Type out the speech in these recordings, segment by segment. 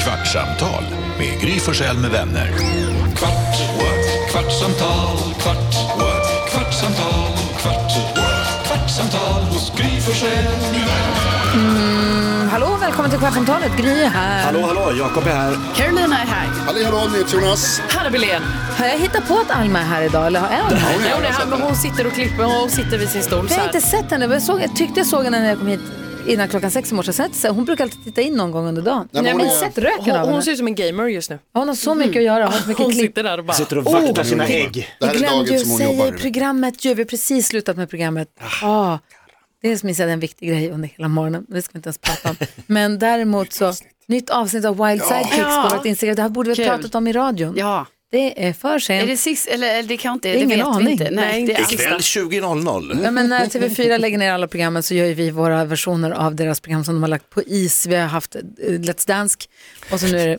Kvartsamtal med Gry Forssell med vänner. Kvart, what? kvartsamtal, kvart, what? kvartsamtal, kvart, what? kvartsamtal hos Gry Forssell med vänner. Hallå, välkommen till Kvartsamtalet. Gry är här. Hallå, hallå, Jakob är här. Carolina är här. Halli hallå, Jonas. Hanna Billén. Har jag hittat på att Alma är här idag? Eller har jag det? Ja, hon är här, men hon sitter och klipper. Hon sitter vid sin stol så Jag har här. inte sett henne. men Jag, såg, jag tyckte jag såg henne när jag kom hit innan klockan sex i morse. Så jag har inte sett- Hon brukar alltid titta in någon gång under dagen. men Nej, hon men är- sett röken av Hon, henne. hon ser ut som en gamer just nu. Hon har så mycket att göra. Hon har så mycket Hon klipp. sitter där och bara... Sitter och vaktar sina ägg. Det Jag här är glömde dagen ju som hon säga jobbar i med. programmet. Ju, vi har precis slutat med programmet. Ah, dels missade jag en viktig grej under hela morgonen. Det ska vi inte ens prata om. Men däremot så, nytt avsnitt av Wild Side Kicks på vårt Instagram. Det här borde vi Kul. ha pratat om i radion. Ja. Det är för sent. Är det sist, eller eller det kan inte, det, ingen vet aning. vi inte. Nej, det är Ikväll 20.00. Ja, men när TV4 lägger ner alla programmen så gör ju vi våra versioner av deras program som de har lagt på is. Vi har haft eh, Let's Dance och så nu är det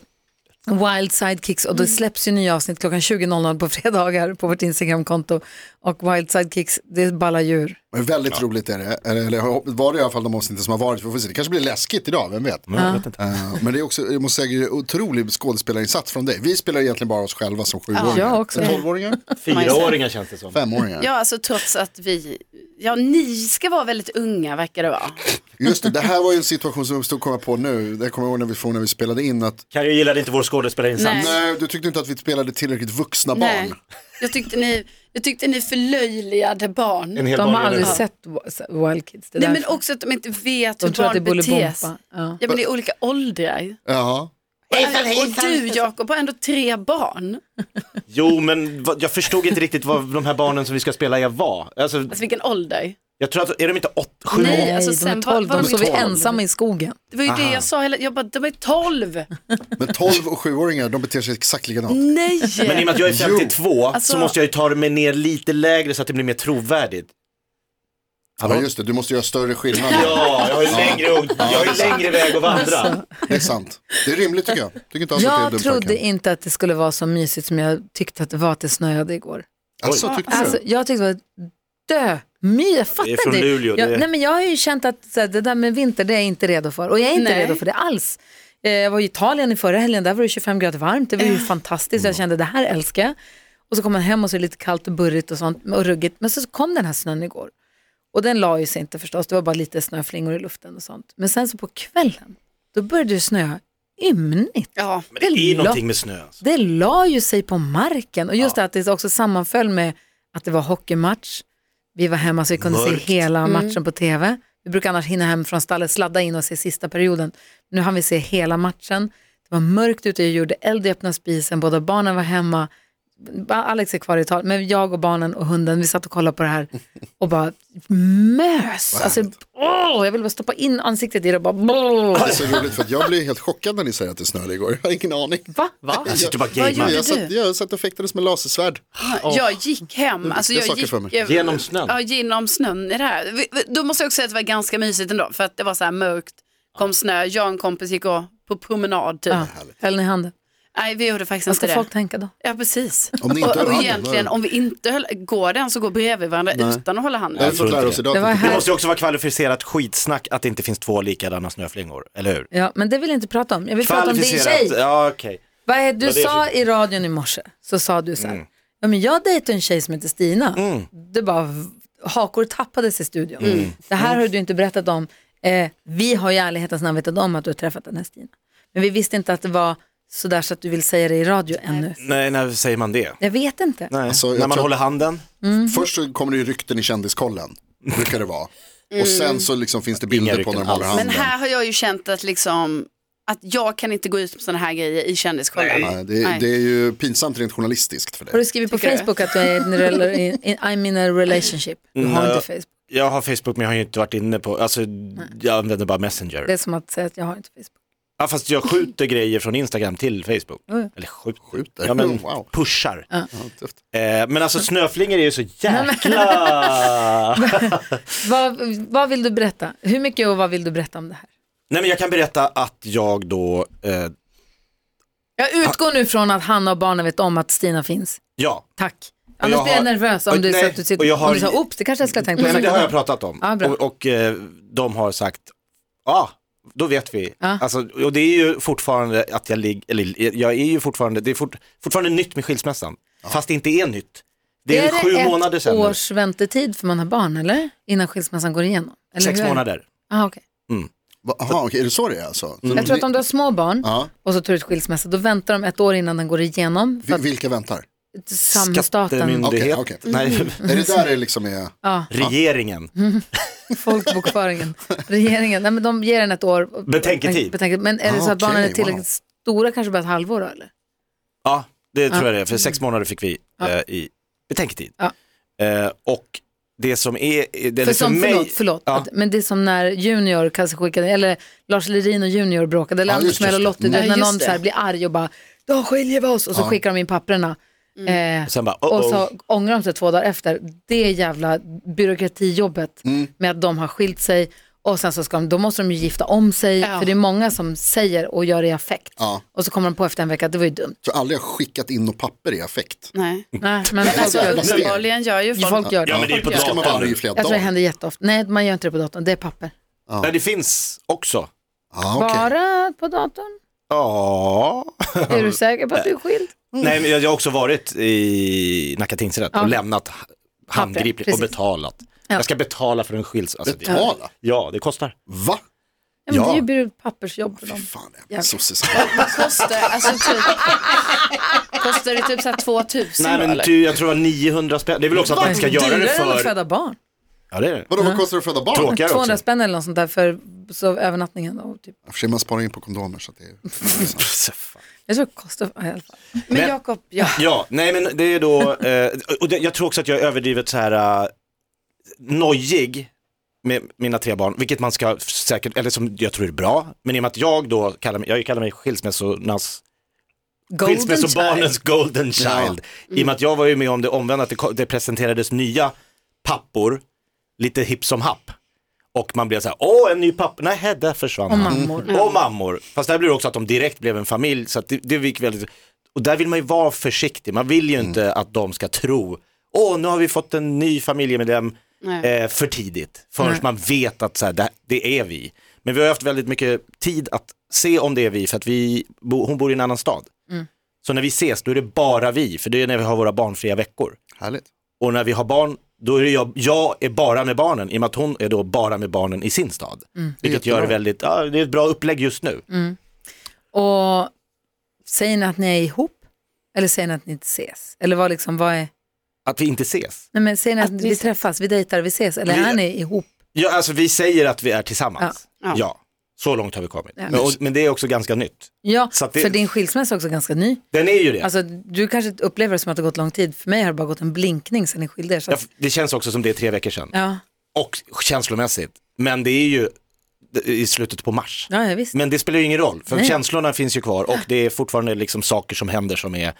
Wild Sidekicks och Mm. det släpps ju nya avsnitt klockan 20.00 på fredagar på vårt Instagramkonto. Och Wild Sidekicks, det är balla djur. Men väldigt roligt är det. Eller, eller var det i alla fall de avsnitten som har varit. Vi får se. Det kanske blir läskigt idag, vem vet. Eh, men det är också, jag måste säga, det är otrolig skådespelarinsats från dig. Vi spelar egentligen bara oss själva som sjuåringar. jag också. Eller Tolvåringar? Fyraåringar känns det som. Femåringar. Ja, alltså trots att vi, ja ni ska vara väldigt unga verkar det vara. Just det, det här var ju en situation som uppstod, kom jag på nu. Det kommer jag ihåg när vi, från när vi spelade in. Att, Carro gillade inte vår skådespelarinsats. Nej. nej, du tyckte inte att vi spelade tillräckligt vuxna Nej, barn. jag tyckte ni, jag tyckte ni förlöjligade barn. En hel De har dag aldrig gör det. sett Wa- Wild Kids. Det är Nej men därför. också att de inte vet de hur tror att det barn är beter sig. Bolibompa. Ja. Ja men det är olika åldrar. Ja. Och du Jakob har ändå tre barn. Jo, men vad- jag förstod inte riktigt vad de här barnen som vi ska spela jag var. Alltså, Alltså vilken ålder? jag tror att, är de inte åt, sju? Nej. Nej, alltså de är sen var- 12, var de de står vi tolv? ensamma i skogen. Det var ju det jag sa hela, jag bara, de är tolv. Men 12 och 7-åringar, de beter sig exakt likadant. Nej. Men i och med att jag är 52 Alltså- så måste jag ju ta mig ner lite lägre så att det blir mer trovärdigt. Hallå? Ja, just det, du måste göra större skillnad. Ja, jag har ju längre, ung- jag har ju Alltså, längre väg att vandra. Det är sant. Det är rimligt tycker jag. Tycker inte alls Alltså, att det är Jag dumt, trodde verkligen. inte att det skulle vara så mysigt som jag tyckte att det var att det snöade igår. Alltså, tyckte du? Alltså, jag tyckte det var dö. My, jag fattar från inte. Luleå, Jag, det är- nej, men jag har ju känt att så här, det där med vinter, det är jag inte redo för. Och jag är inte Nej. redo för det alls. Eh, Jag var i Italien i förra helgen, där var det 25 grader varmt. Det var ju fantastiskt. Jag kände det här älskar jag. Och så kom man hem och så är det lite kallt och burrigt och sånt och ruggigt. Men så kom den här snön igår. Och den la ju sig inte förstås, det var bara lite snöflingor i luften och sånt. Men sen så på kvällen, då började det snöa ymnigt. Ja, Men det är ju Det la- någonting med snö. Alltså. Det la ju sig på marken och just det att det också sammanföll med att det var hockeymatch. Vi var hemma så vi kunde Mörkt. se hela matchen på tv. Vi brukar annars hinna hem från stallet, sladda in och se sista perioden. Nu hann vi se hela matchen. Det var mörkt ute, jag gjorde eld i öppna spisen, båda barnen var hemma. Ba- Alex är kvar i tal, men jag och barnen och hunden, vi satt och kollade på det här och bara mös. Alltså, åh, jag ville bara stoppa in ansiktet i det och bara... Det är så roligt för att jag blev helt chockad när ni säger att det snöade igår. Jag har ingen aning. Va? Jag sitter bara och Vad gamear. gör Jag satt, jag satt och fäktades med lasersvärd. jag gick hem. Alltså, Det är jag saker gick, för mig. jag- Genom snön. Ja, genom snön i det här. Vi- vi- Då måste jag också säga att det var ganska mysigt ändå, för att det var så här mörkt, kom snö, jag och en kompis gick och på promenad typ. Ja, höll ni handen? Nej, vi gjorde faktiskt Vad ska inte folk det. tänka då? Ja, precis. Om ni inte och, höll och handen, egentligen, vad- om vi inte höll, går den så går bredvid varandra utan att hålla Det har handen. vi fått lära oss idag. Det var Det här- måste ju också vara kvalificerat skitsnack att det inte finns två likadana snöflingor, eller hur? Ja, men det vill jag inte prata om. Jag vill prata om din tjej. Kvalificerat, ja okej. Vad är, du Vad är det sa för- Mm. i radion i morse, så sa du så här, ja, men jag dejtade en tjej som heter Stina. Det bara, v- hakor tappades i studion. Mm. Det här har du inte berättat om. Eh, vi har ju i ärlighetens namn vetat om att du har träffat den här Stina. Men vi visste inte att det var sådär så att du vill säga det i radio ännu. Nej, när säger man det? Jag vet inte. Nej. Alltså, jag när man tror- håller handen? Mm. Först så kommer det ju rykten i kändiskollen, brukar det vara. Och Mm. sen så liksom finns det Inga bilder på rykten när de håller alls. handen. Men här har jag ju känt att liksom, att jag kan inte gå ut med sådana här grejer i kändiskollen. Nej, det, Nej. det är ju pinsamt rent journalistiskt för Har dig. du skrivit på Tycker du? Facebook att du är i en rela- i- i- I'm in a relationship? Du har Nej. inte Facebook. Jag har Facebook men jag har ju inte varit inne på, alltså jag använder bara Messenger. Det är som att säga att jag har inte Facebook. Ja, fast jag skjuter grejer från Instagram till Facebook. Eller skjuter. Skjuter? Ja, men Wow. pushar. Ja, tufft. Eh, men alltså snöflingor är ju så jäkla... Vad, vad vill du berätta? Hur mycket och vad vill du berätta om det här? Nej men jag kan berätta att jag då, eh, Jag utgår nu från att Hanna och barnen vet om att Stina finns. ja. Tack. Och Annars jag blir jag har- nervös om och du, nej, så att du och sitter jag och har- du sa oops, det kanske jag skulle ha tänkt på. Nej, men det att eh, har jag säga. pratat om. Ja, bra. och och eh, de har sagt, ja, ah, Då vet vi. Alltså, och det är ju fortfarande att jag ligger, eller jag är ju fortfarande, det är fort, fortfarande nytt med skilsmässan. Fast det inte är nytt. Det är, sju ett månader sedan. nu. års väntetid för man har barn, eller? Innan skilsmässan går igenom? Eller Sex hur är det? månader. Ah, okay. Va- Jaha, okej, är det så det är alltså? Mm. Jag tror att om du har små barn Ja. och så tar du ut skilsmässa, då väntar de ett år innan den går igenom. För Vi- att Vilka väntar? samhällsstaten, Okej, Myndighet. okej. Mm. Nej, Är det där det liksom är? regeringen. folkbokföringen, regeringen, nej men de ger den ett år. Betänketid. Betänk- Men är det Ah, så att barnen är okej, tillräckligt stora, kanske bara ett halvår då, eller? Ja, det tror jag det är. För sex månader fick vi eh, i betänketid. Mm. Ja. Eh, och det som är, det är För som, mig, förlåt, förlåt. Ja. Att, men det är som när Junior kanske skickade, eller Lars Lerin och Junior bråkade, eller Ja, Anders just det, Mell och just Lottie, det. du vet Ja, när just någon det. så här blir arg och bara, då skiljer vi oss, och så skickar de in papperna. Eh, Sen bara, och oh, så ångrar de sig två dagar efter. Det jävla byråkratijobbet med att de har skilt sig och sen så ska de, då måste de ju gifta om sig, Ja. för det är många som säger och gör det i affekt. Ja. Och så kommer de på efter en vecka att det var ju dumt. Jag tror aldrig jag skickat in något papper i affekt. Nej. Nej, men folk Alltså, gör det. uppenbarligen gör ju folk... Folk gör det. Ja, men det är på Då ska man datorn. vara arg i flera Jag tror det dagar. händer jätteofta. Nej, man gör inte det på datorn, det är papper. Nej, det finns också. Ja, okej. Bara på datorn? Ja. Är du säker på att du Eh, är skild? Nej, men jag jag har också varit i Nacka tingsrätt och Ja. lämnat ha- handgripligt och precis. betalat. Jag ska betala för en skilsmässa. Alltså, det- Betala? Ja, det kostar. Va? Ja, men Ja. Det är ju byrå- pappersjobb för dem. Fan, jag är Jävlar. sosse. Kostar, alltså, typ, kostar det typ så här 2000 Nej, då, men eller? du, jag tror det var 900 spänn. Det är väl också att man ska göra det Dyrare än att för... föda barn. Ja, det är det. Vadå, vad kostar det att föda barn? Tråkigare 200 också. spänn eller något sånt där för så, övernattningen. Och typ. I och för sig, Man sparar in på kondomer så att det är... Jag tror det kostar, ja, i alla fall. Men Men- Jakob, ja. Ja, nej men det är då, eh, och det, jag tror också att jag är överdrivet så här eh, nojig med mina tre barn, vilket man ska säkert, eller som jag tror är bra, men i och med att jag då kallar mig, jag kallar mig skilsmässornas, skilsmässobarnens golden child, i och med att jag var ju med om det omvända, att det, ko- det presenterades nya pappor, lite hipp som happ. Och man blev så här, åh en ny pappa, nej där försvann Och han. mammor. Och mammor. Fast där blir det också att de direkt blev en familj. Så att det, det gick väldigt... Och där vill man ju vara försiktig. Man vill ju Mm. inte att de ska tro, åh nu har vi fått en ny familjemedlem Nej. eh, för tidigt. Förrän Nej. man vet att så här, det, det är vi. Men vi har haft väldigt mycket tid att se om det är vi för att vi, bo, hon bor i en annan stad. Mm. Så när vi ses då är det bara vi, för det är när vi har våra barnfria veckor. Härligt. Och när vi har barn, då är det jag, jag är bara med barnen, i och med att hon är då bara med barnen i sin stad. Mm. Vilket gör det väldigt, ja, det är ett bra upplägg just nu. Och säger ni att ni är ihop? Eller säger ni att ni inte ses? Eller vad liksom, vad är... Att vi inte ses. Nej men säger ni att, Att vi vi- träffas, vi dejtar, vi ses? Eller Vi- är ni ihop? Ja, alltså vi säger att vi är tillsammans. Ja. Ja, Ja. så långt har vi kommit. Ja. Men, och, men det är också ganska nytt. Ja, Så att det- för din skilsmässa är också ganska ny. Den är ju det. Alltså, du kanske upplever det som att det har gått lång tid. För mig har det bara gått en blinkning sen ni skilde er. Så Jag, att, det känns också som det är tre veckor sedan. ja. Och känslomässigt. Men det är ju i slutet på mars. ja, ja, visst. Men det spelar ju ingen roll, för Nej. känslorna finns ju kvar och det är fortfarande liksom saker som händer som är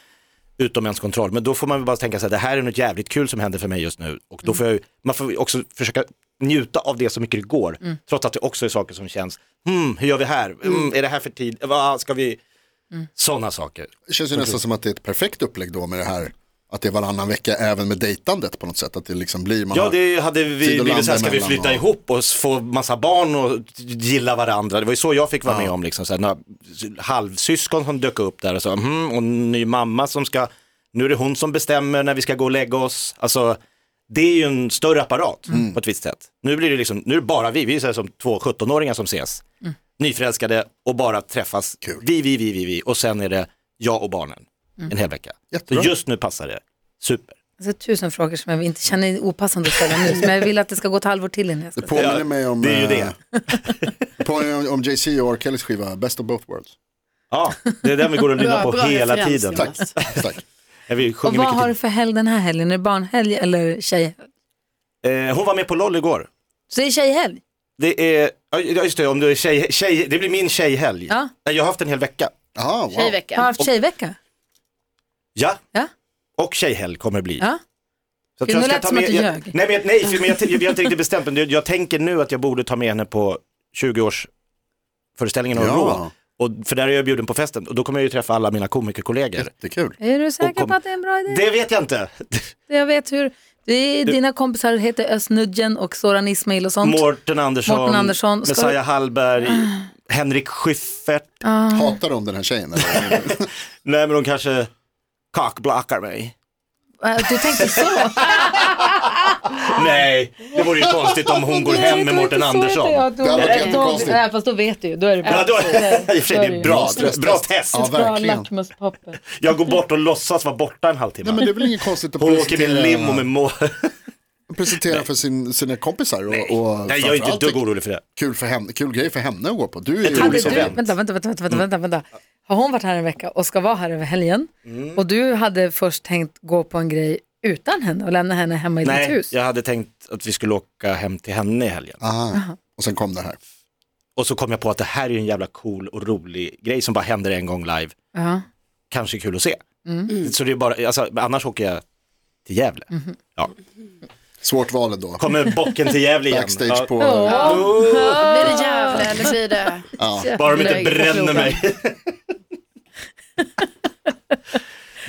utom ens kontroll. Men då får man väl bara tänka så här, det här är något jävligt kul som händer för mig just nu. Och då Mm. får jag, ju- man får ju också försöka njuta av det så mycket det går, Mm. trots att det också är saker som känns, hmm, hur gör vi här? Mm, är det här för tid? Vad ska vi? Mm. Sådana saker. Det känns ju nästan som att det är ett perfekt upplägg då med det här. Att det är varannan vecka även med dejtandet på något sätt. Att det liksom blir, man Ja, har- det hade vi tid att blivit så här, landa ska vi emellan flytta och- ihop och s- få massa barn och gilla varandra? Det var ju så jag fick vara med om, liksom, så här, några halvsyskon som dök upp där och så, mhm, och en ny mamma som ska, nu är det hon som bestämmer när vi ska gå och lägga oss. Alltså, det är ju en större apparat Mm. på ett visst sätt. Nu blir det liksom, nu är det bara vi, vi är så här som två 17-åringar som ses, nyförälskade och bara träffas, Kul. vi, vi, vi, vi, vi, och sen är det jag och barnen en hel vecka. Jättebra. Så just nu passar det, super. Alltså, tusen frågor som jag inte känner är opassande att ställa nu. Men jag vill att det ska gå ett halvår till innan jag det ska... påminner Ja, mig om, det är ju eh, det. det påminner om, om Jay-Z och R. Kellys skiva Best of both worlds. Ja, det är den vi går och lyssnar på hela referens, tiden. Jonas. Tack. Ja, vi Och sjunger vad mycket har du till. för helg den här helgen? Är det barnhelg eller tjej? Eh, hon var med på LOL igår. Så det är tjejhelg? Det är, ja just det, om du är tjej, tjej, det blir min tjejhelg. Ja. Nej, Jag har haft en hel vecka. Aha, wow. Har du Tjejvecka. haft tjejvecka? Ja, Ja. och tjejhelg kommer det bli. ja. Så att Gud, jag nu ska lät ta som med, att du jag, ljög. nej, men, jag- nej för, men jag, jag, har inte riktigt bestämt mig. Jag, jag tänker nu att jag borde ta med henne på 20-årsföreställningen av Ja. Rå. Och, för där är jag bjuden på festen och då kommer jag ju träffa alla mina komikerkollegor. Jättekul. Är du säker kom- på att det är en bra idé? Det vet jag inte. Jag vet hur... Det är, Dina kompisar heter Özz Nudjen och Soran Ismail och sånt. Mårten Andersson, Mårten Andersson. Ska Messiah Hallberg, Henrik Schyffert. Hatar de den här tjejen? eller? Nej men de kanske kakblackar mig. Eh, Du tänkte så? Nej, det vore ju konstigt om hon går hem med Mårten Andersson. Ja, Ja, då, Det hade varit då, jättekonstigt. nej, fast då vet du ju, då är det bra. Typ då, i och för sig, det är bra, bra test. Ja, Bra verkligen. lackmuspapper. Jag går bort och låtsas vara borta en halvtimme. Nej, men det är väl inget konstigt att Hon åker med limo med må... presentera för sin, sina kompisar. Och, och Nej, jag är inte ett framförallt dugg orolig för det. Kul, för henne, kul grej för henne att gå på. Du är ju tror Hade det liksom, du, event. vänta, vänta, vänta, vänta, Mm. vänta, vänta. Har hon varit här en vecka och ska vara här över helgen Mm. och du hade först tänkt gå på en grej utan henne och lämna henne hemma i ditt Nej, hus? jag hade tänkt att vi skulle åka hem till henne i helgen. aha. Och sen kom det här. Och så kom jag på att det här är ju en jävla cool och rolig grej som bara händer en gång live. Ja. Kanske kul att se. Mm. Så det är bara, alltså, annars åker jag till Gävle. Mhm. Ja. Svårt val ändå. Kommer bocken till Gävle igen. Backstage Ja. på... Blir det Gävle eller blir det? Ja. Bara de inte Lägg på bränner krogen. mig.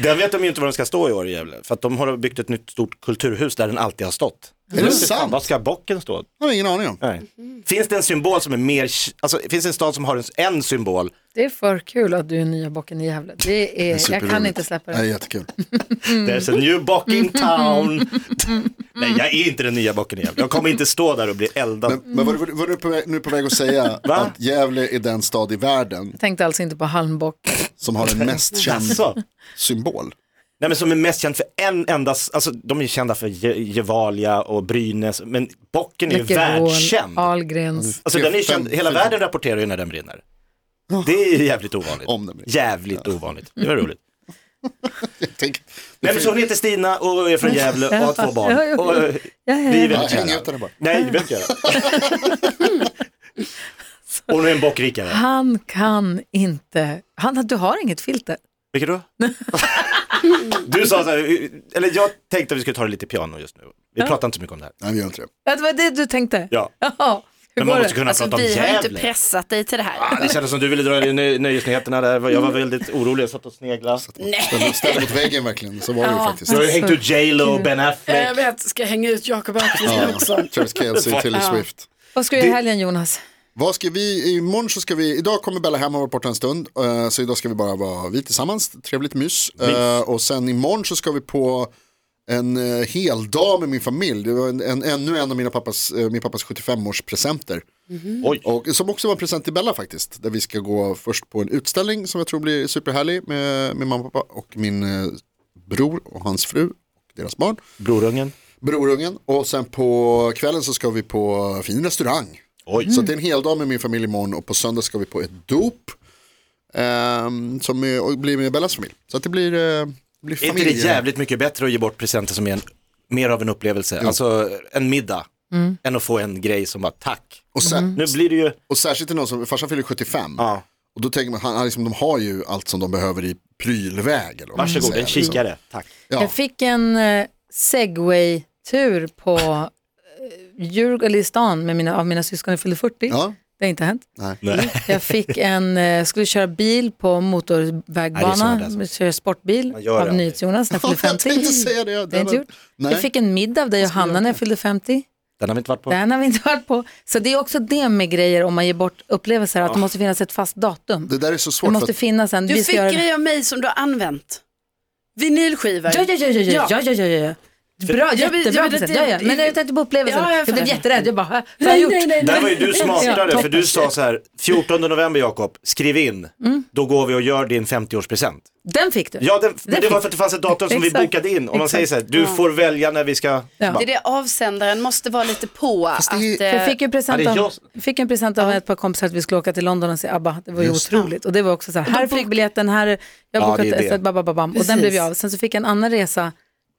Den vet de ju inte var den ska stå i år i Gävle. För att de har byggt ett nytt stort kulturhus där den alltid har stått. Är det Fan, sant? vad ska bocken stå? Jag har ingen aning om. Nej. Mm-hmm. Finns det en symbol som är mer, alltså finns det en stad som har en, en symbol? Det är för kul att du är nya bocken i Gävle. Det är, jag kan Superroligt. inte släppa Nej, det. jättekul. Mm. There's a new bock in Mm-hmm. town. Nej, jag är inte den nya bocken i Gävle. Jag kommer inte stå där och bli eldad. Men, men var, du- var du på väg, nu på väg att säga Va? att Gävle är den stad i världen Jag tänkte alltså inte på halmbock. som har en mest känd Alltså, symbol? nej men som är mest känd för en enda, alltså de är ju kända för Je- Gevalia och Brynäs, men bocken är ju Läckerol, världskänd. Ahlgrens. Alltså den är ju Fem- känd, hela fyra. världen rapporterar ju när den brinner. Det är ju jävligt ovanligt. Om den brinner. Jävligt ovanligt. Det var roligt. Tänk, Nej men så hon heter Stina och är från Gävle och har två Ja, ja, barn. ja. Och, eh, Ja, ja, vi är ja. ja, väldigt häng kära. ut den bara. Nej, det behöver inte göra. Hon är en bockrickare. Han kan inte, han, du har inget filter. Vilket då? du sa så här, eller jag tänkte att vi skulle ta det lite piano just nu. Vi pratar inte så mycket om det här. Nej, vi gör inte det. Ja, Det var det du tänkte? Ja. Jaha, hur Men man går måste det? kunna Alltså prata om vi har ju inte Gävle. pressat dig till det Ah, här. Det kändes som du ville dra i nö- nöjesnyheterna där. Jag var väldigt orolig, jag satt och sneglade. Ställ, ställ mot väggen verkligen, så var det ju faktiskt. Du har ju hängt ut J.Lo och Ben Affleck. Jag vet, ska jag hänga ut Jakob Öqvist också? Travis Kelce, Taylor Swift. Vad ska du göra i helgen Jonas? Vad ska vi, imorgon så ska vi, idag kommer Bella hem och vara borta en stund. eh, Så idag ska vi bara vara vi tillsammans, trevligt mys. Eh, Och sen imorgon så ska vi på en eh, hel dag med min familj. Det var en, en, ännu en av mina pappas, eh, min pappas 75-årspresenter. Oj. Och, som också var en present till Bella faktiskt. Där vi ska gå först på en utställning som jag tror blir superhärlig med min mamma och pappa och min eh, bror och hans fru och deras barn. Brorungen. Brorungen. Och sen på kvällen så ska vi på fin restaurang. Oj. Så det är en hel dag med min familj imorgon och på söndag ska vi på ett dop. ehm, som är, och blir med Bellas familj. Så att det blir, eh, blir Är familj. inte det jävligt mycket bättre att ge bort presenter som är en, mer av en upplevelse? Alltså en middag. Än att få en grej som bara tack. Och, sen, Mm. Nu blir det ju... och särskilt till någon som, farsan fyller 75. Ja. Och då tänker man, han, han liksom, de har ju allt som de behöver i prylväg. Eller vad man ska Varsågod, säga, en liksom. kikare. Tack. Ja. Jag fick en eh, segway-tur på eh, Djurgården, eller i stan, med mina, av mina syskon. Jag fyllde 40. Ja. Det har inte hänt. Nej. Jag fick en, eh, skulle köra bil på Nej, det är motorvägbana, sådant alltså. köra sportbil Man gör det av aldrig. NyhetsJonas när jag fyllde 50. Jag tänkte säga det. Det är inte gjort. Nej. Jag fick en middag av dig och Hanna när jag fyllde 50. Den har vi inte varit på. Den har vi inte varit på. Så det är också det med grejer om man ger bort upplevelser, att det måste finnas ett fast datum. Det där är så Det svårt. för måste att, finnas en, Du vi ska fick göra det. grejer av mig som du har använt. Vinylskivor. Ja, ja, ja, ja, ja, ja, ja, ja, ja. Bra, Ja, men- ja, jättebra men present. det- Ja, ja. Men jag tänkte på upplevelsen. Ja, jag Jag blev fattar. jätterädd. Jag bara, "Hä? vad har jag gjort? Där var ju du smartare, Ja, för du sa så här, 14 november Jakob, skriv in, då går vi och gör din 50-årspresent. Den fick du. Ja, det, men det fick- var för att det fanns ett datum som vi Exakt. bokade in. Om man Exakt. säger så här, du får välja när vi ska... Ja. Det är det avsändaren måste vara lite på. det är- att, eh, Jag fick ju en present Ja, det är av, fick en present av ett par kompisar att vi skulle åka till London och se ABBA. Det var ju otroligt. Och det var också så här, här är flygbiljetten, här är- jag Ja, har bokat det är det. ett babababam. Och den Precis. blev jag av. Sen så fick jag en annan resa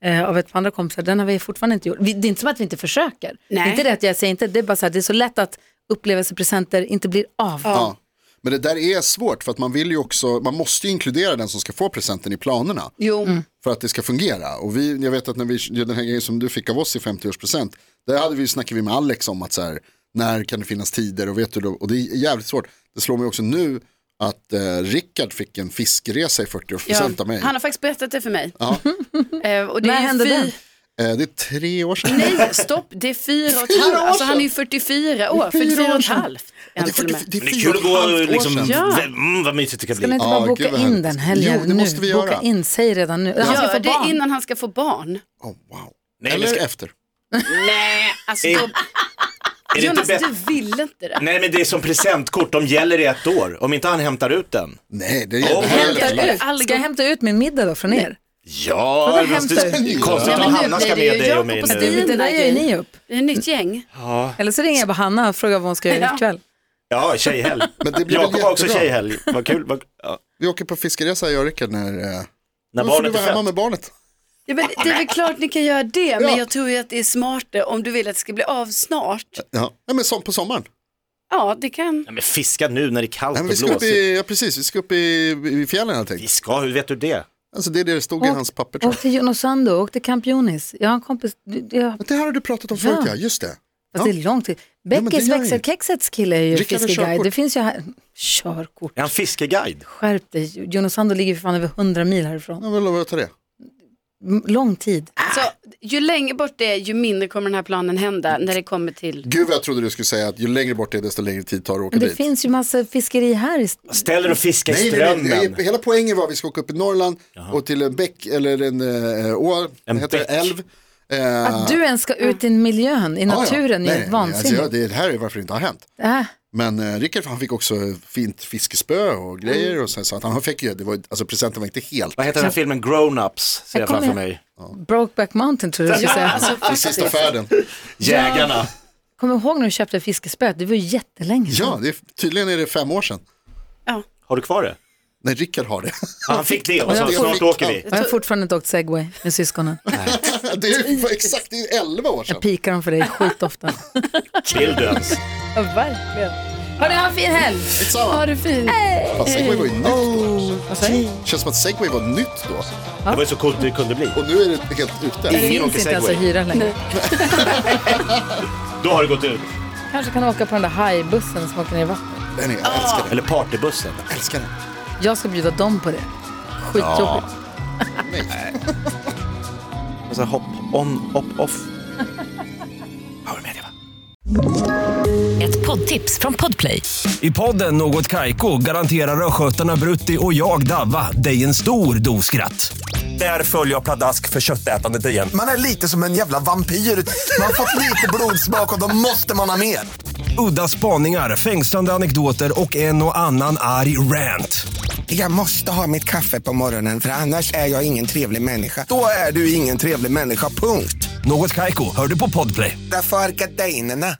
eh, av ett par andra kompisar, den har vi fortfarande inte gjort. Vi, det är inte som att vi inte försöker. Det är Nej. inte det att jag säger inte, det är bara så här, det är så lätt att upplevelsepresenter inte blir av. ja. Men det där är svårt för att man vill ju också, man måste ju inkludera den som ska få presenten i planerna. Jo, för att det ska fungera. Och vi, jag vet att när vi, den här grejen som du fick av oss i 50-årspresent, där hade vi, snackade vi med Alex om att så här, när kan det finnas tider och vet du då, och det är jävligt svårt. Det slår mig också nu att eh, Rickard fick en fiskresa i 40-årspresent ja. av mig. han har faktiskt berättat det för mig. Ja. Eh, och det När är ju hände fy- den? Eh, det är tre år sedan. Nej, stopp, det är fyra och ett halvt. Alltså han är ju 44 år, Fyra år 44 och ett sedan. halvt. är Ja, han det är till och med. 40 det är Men det är kul fyra och att ett gå halvt år och liksom, sedan. Ja. vem- mm, vad mysigt det ska Ska ni ni bli. inte inte bara Ah, boka gud vad in härligt. den helgen Jo, det måste nu? vi göra. Boka in, säg redan nu. Han ska Gör få det barn. innan han ska få barn. Oh, wow. Nej, Eller men ska- efter. Nej, alltså då, Är det inte Jonas bättre- du vill inte det. Nej men det är som presentkort, de gäller i ett år. Om inte han hämtar ut den. Nej, det är Oh, det här är men- lite lätt. Ska jag hämta ut min middag då från er? Ja, Vadå, men det hämtar är konstigt du? Ja, om men nu Hanna blir ska det med ju dig och Jakob min... och eh, Stina. Det där gör ju ni upp. Det är ett nytt gäng. Ja, Eller så ringer jag på Hanna och frågar vad hon ska göra Ja. ikväll. ja tjejhelg. Men det blir väl Jakob har också jättebra. tjejhelg. Vad kul. Vad, ja. Vi åker på fiskeresa jag och Rickard när... Eh, När då får barnet du är vara hemma fött. med barnet. Ja, men det är väl klart ni kan göra det, men Ja. jag tror ju att det är smartare om du vill att det ska bli av snart. Ja, Nej, men som på sommaren. Ja, det kan. Nej, men fiska nu när det är kallt Nej, och men vi ska upp blåsigt. i, ja, precis, vi ska upp i, i fjällen helt Vi enkelt. ska, hur vet du det? Alltså det är det det stod i Och- hans papper tror Åk jag. till Jonosando, åk till Camp Jonis. Jag har en kompis, du- du- jag, Men Det här har du pratat om Ja. förut ja, just det. fast det är långt till. men det Beckis gör växelkexets kille är ju Rickard har fiskeguide. körkort. Det finns ju här, körkort, Är han fiskeguide? skärp dig. Jonosando ligger för fan över 100 mil härifrån. Jag vill lova att ta det. M- Lång tid. Ah. Så ju längre bort det är, ju mindre kommer den här planen hända när det kommer till... Gud vad jag trodde du skulle säga att ju längre bort det är desto längre tid tar det att åka Men det dit. finns ju massa fiskeri här. i st- Ställer och fiskar i Nej, nej, strömmen. nej, nej, hela poängen var att vi ska åka upp i Norrland och till en bäck eller en eh, å, En heter det, bäck. älv. Eh, Att du ens ska ut i miljön, i Ah, ja, ja. naturen, Nej, är nej, ju Alltså, ja, vansinnigt. det här är varför det inte har hänt. Äh, Men eh, Rickard han fick också fint fiskespö och grejer Mm. och sen så att han fick ju, det var, alltså presenten var inte helt. Vad heter den här filmen? Grown-ups ser Jag jag framför kommer- mig. Brokeback Mountain tror jag du skulle säga. Alltså, I sista färden. Jägarna. Kommer du ihåg när du köpte fiskespöet? Det var ju jättelänge sedan. Ja, det är, tydligen är det fem år sedan. Ja. Har du kvar det? Nej, Rickard har det. Ja, han fick det och så Jag snart fick åker allt. vi. Jag har fortfarande inte åkt segway med syskonen. det är ju för exakt, det är elva år sedan. Jag pikar dem för dig skitofta. Vill du ens? Ja, verkligen. Hörni, ha en fin helg. Detsamma. Ha det fint. Fan, Segway var ju nytt då. Vad säger du? Känns som att segway var nytt då. Det var ju så coolt det kunde bli. Och nu är det helt ute. Det Ingen finns åker inte ens att segway. hyra längre. Då har det gått ut. Kanske kan åka på den där hajbussen som åker ner i vattnet. Den är, jag älskar den. Eller partybussen. Jag älskar den. Jag ska bjuda dem på det. Skitjobbigt. Alltså hopp, on, hopp, off. Har du med det va? Ett poddtips från Podplay. I podden Något Kaiko garanterar östgötarna Brutti och jag, Davva, dig en stor dos skratt. Där följer jag pladask för köttätandet igen. Man är lite som en jävla vampyr. Man har fått lite blodsmak och då måste man ha mer. Udda spaningar, fängslande anekdoter och en och annan arg rant. Jag måste ha mitt kaffe på morgonen för annars är jag ingen trevlig människa. Då är du ingen trevlig människa, punkt. Något Kaiko, hör du på Podplay. Därför arkadeinerna.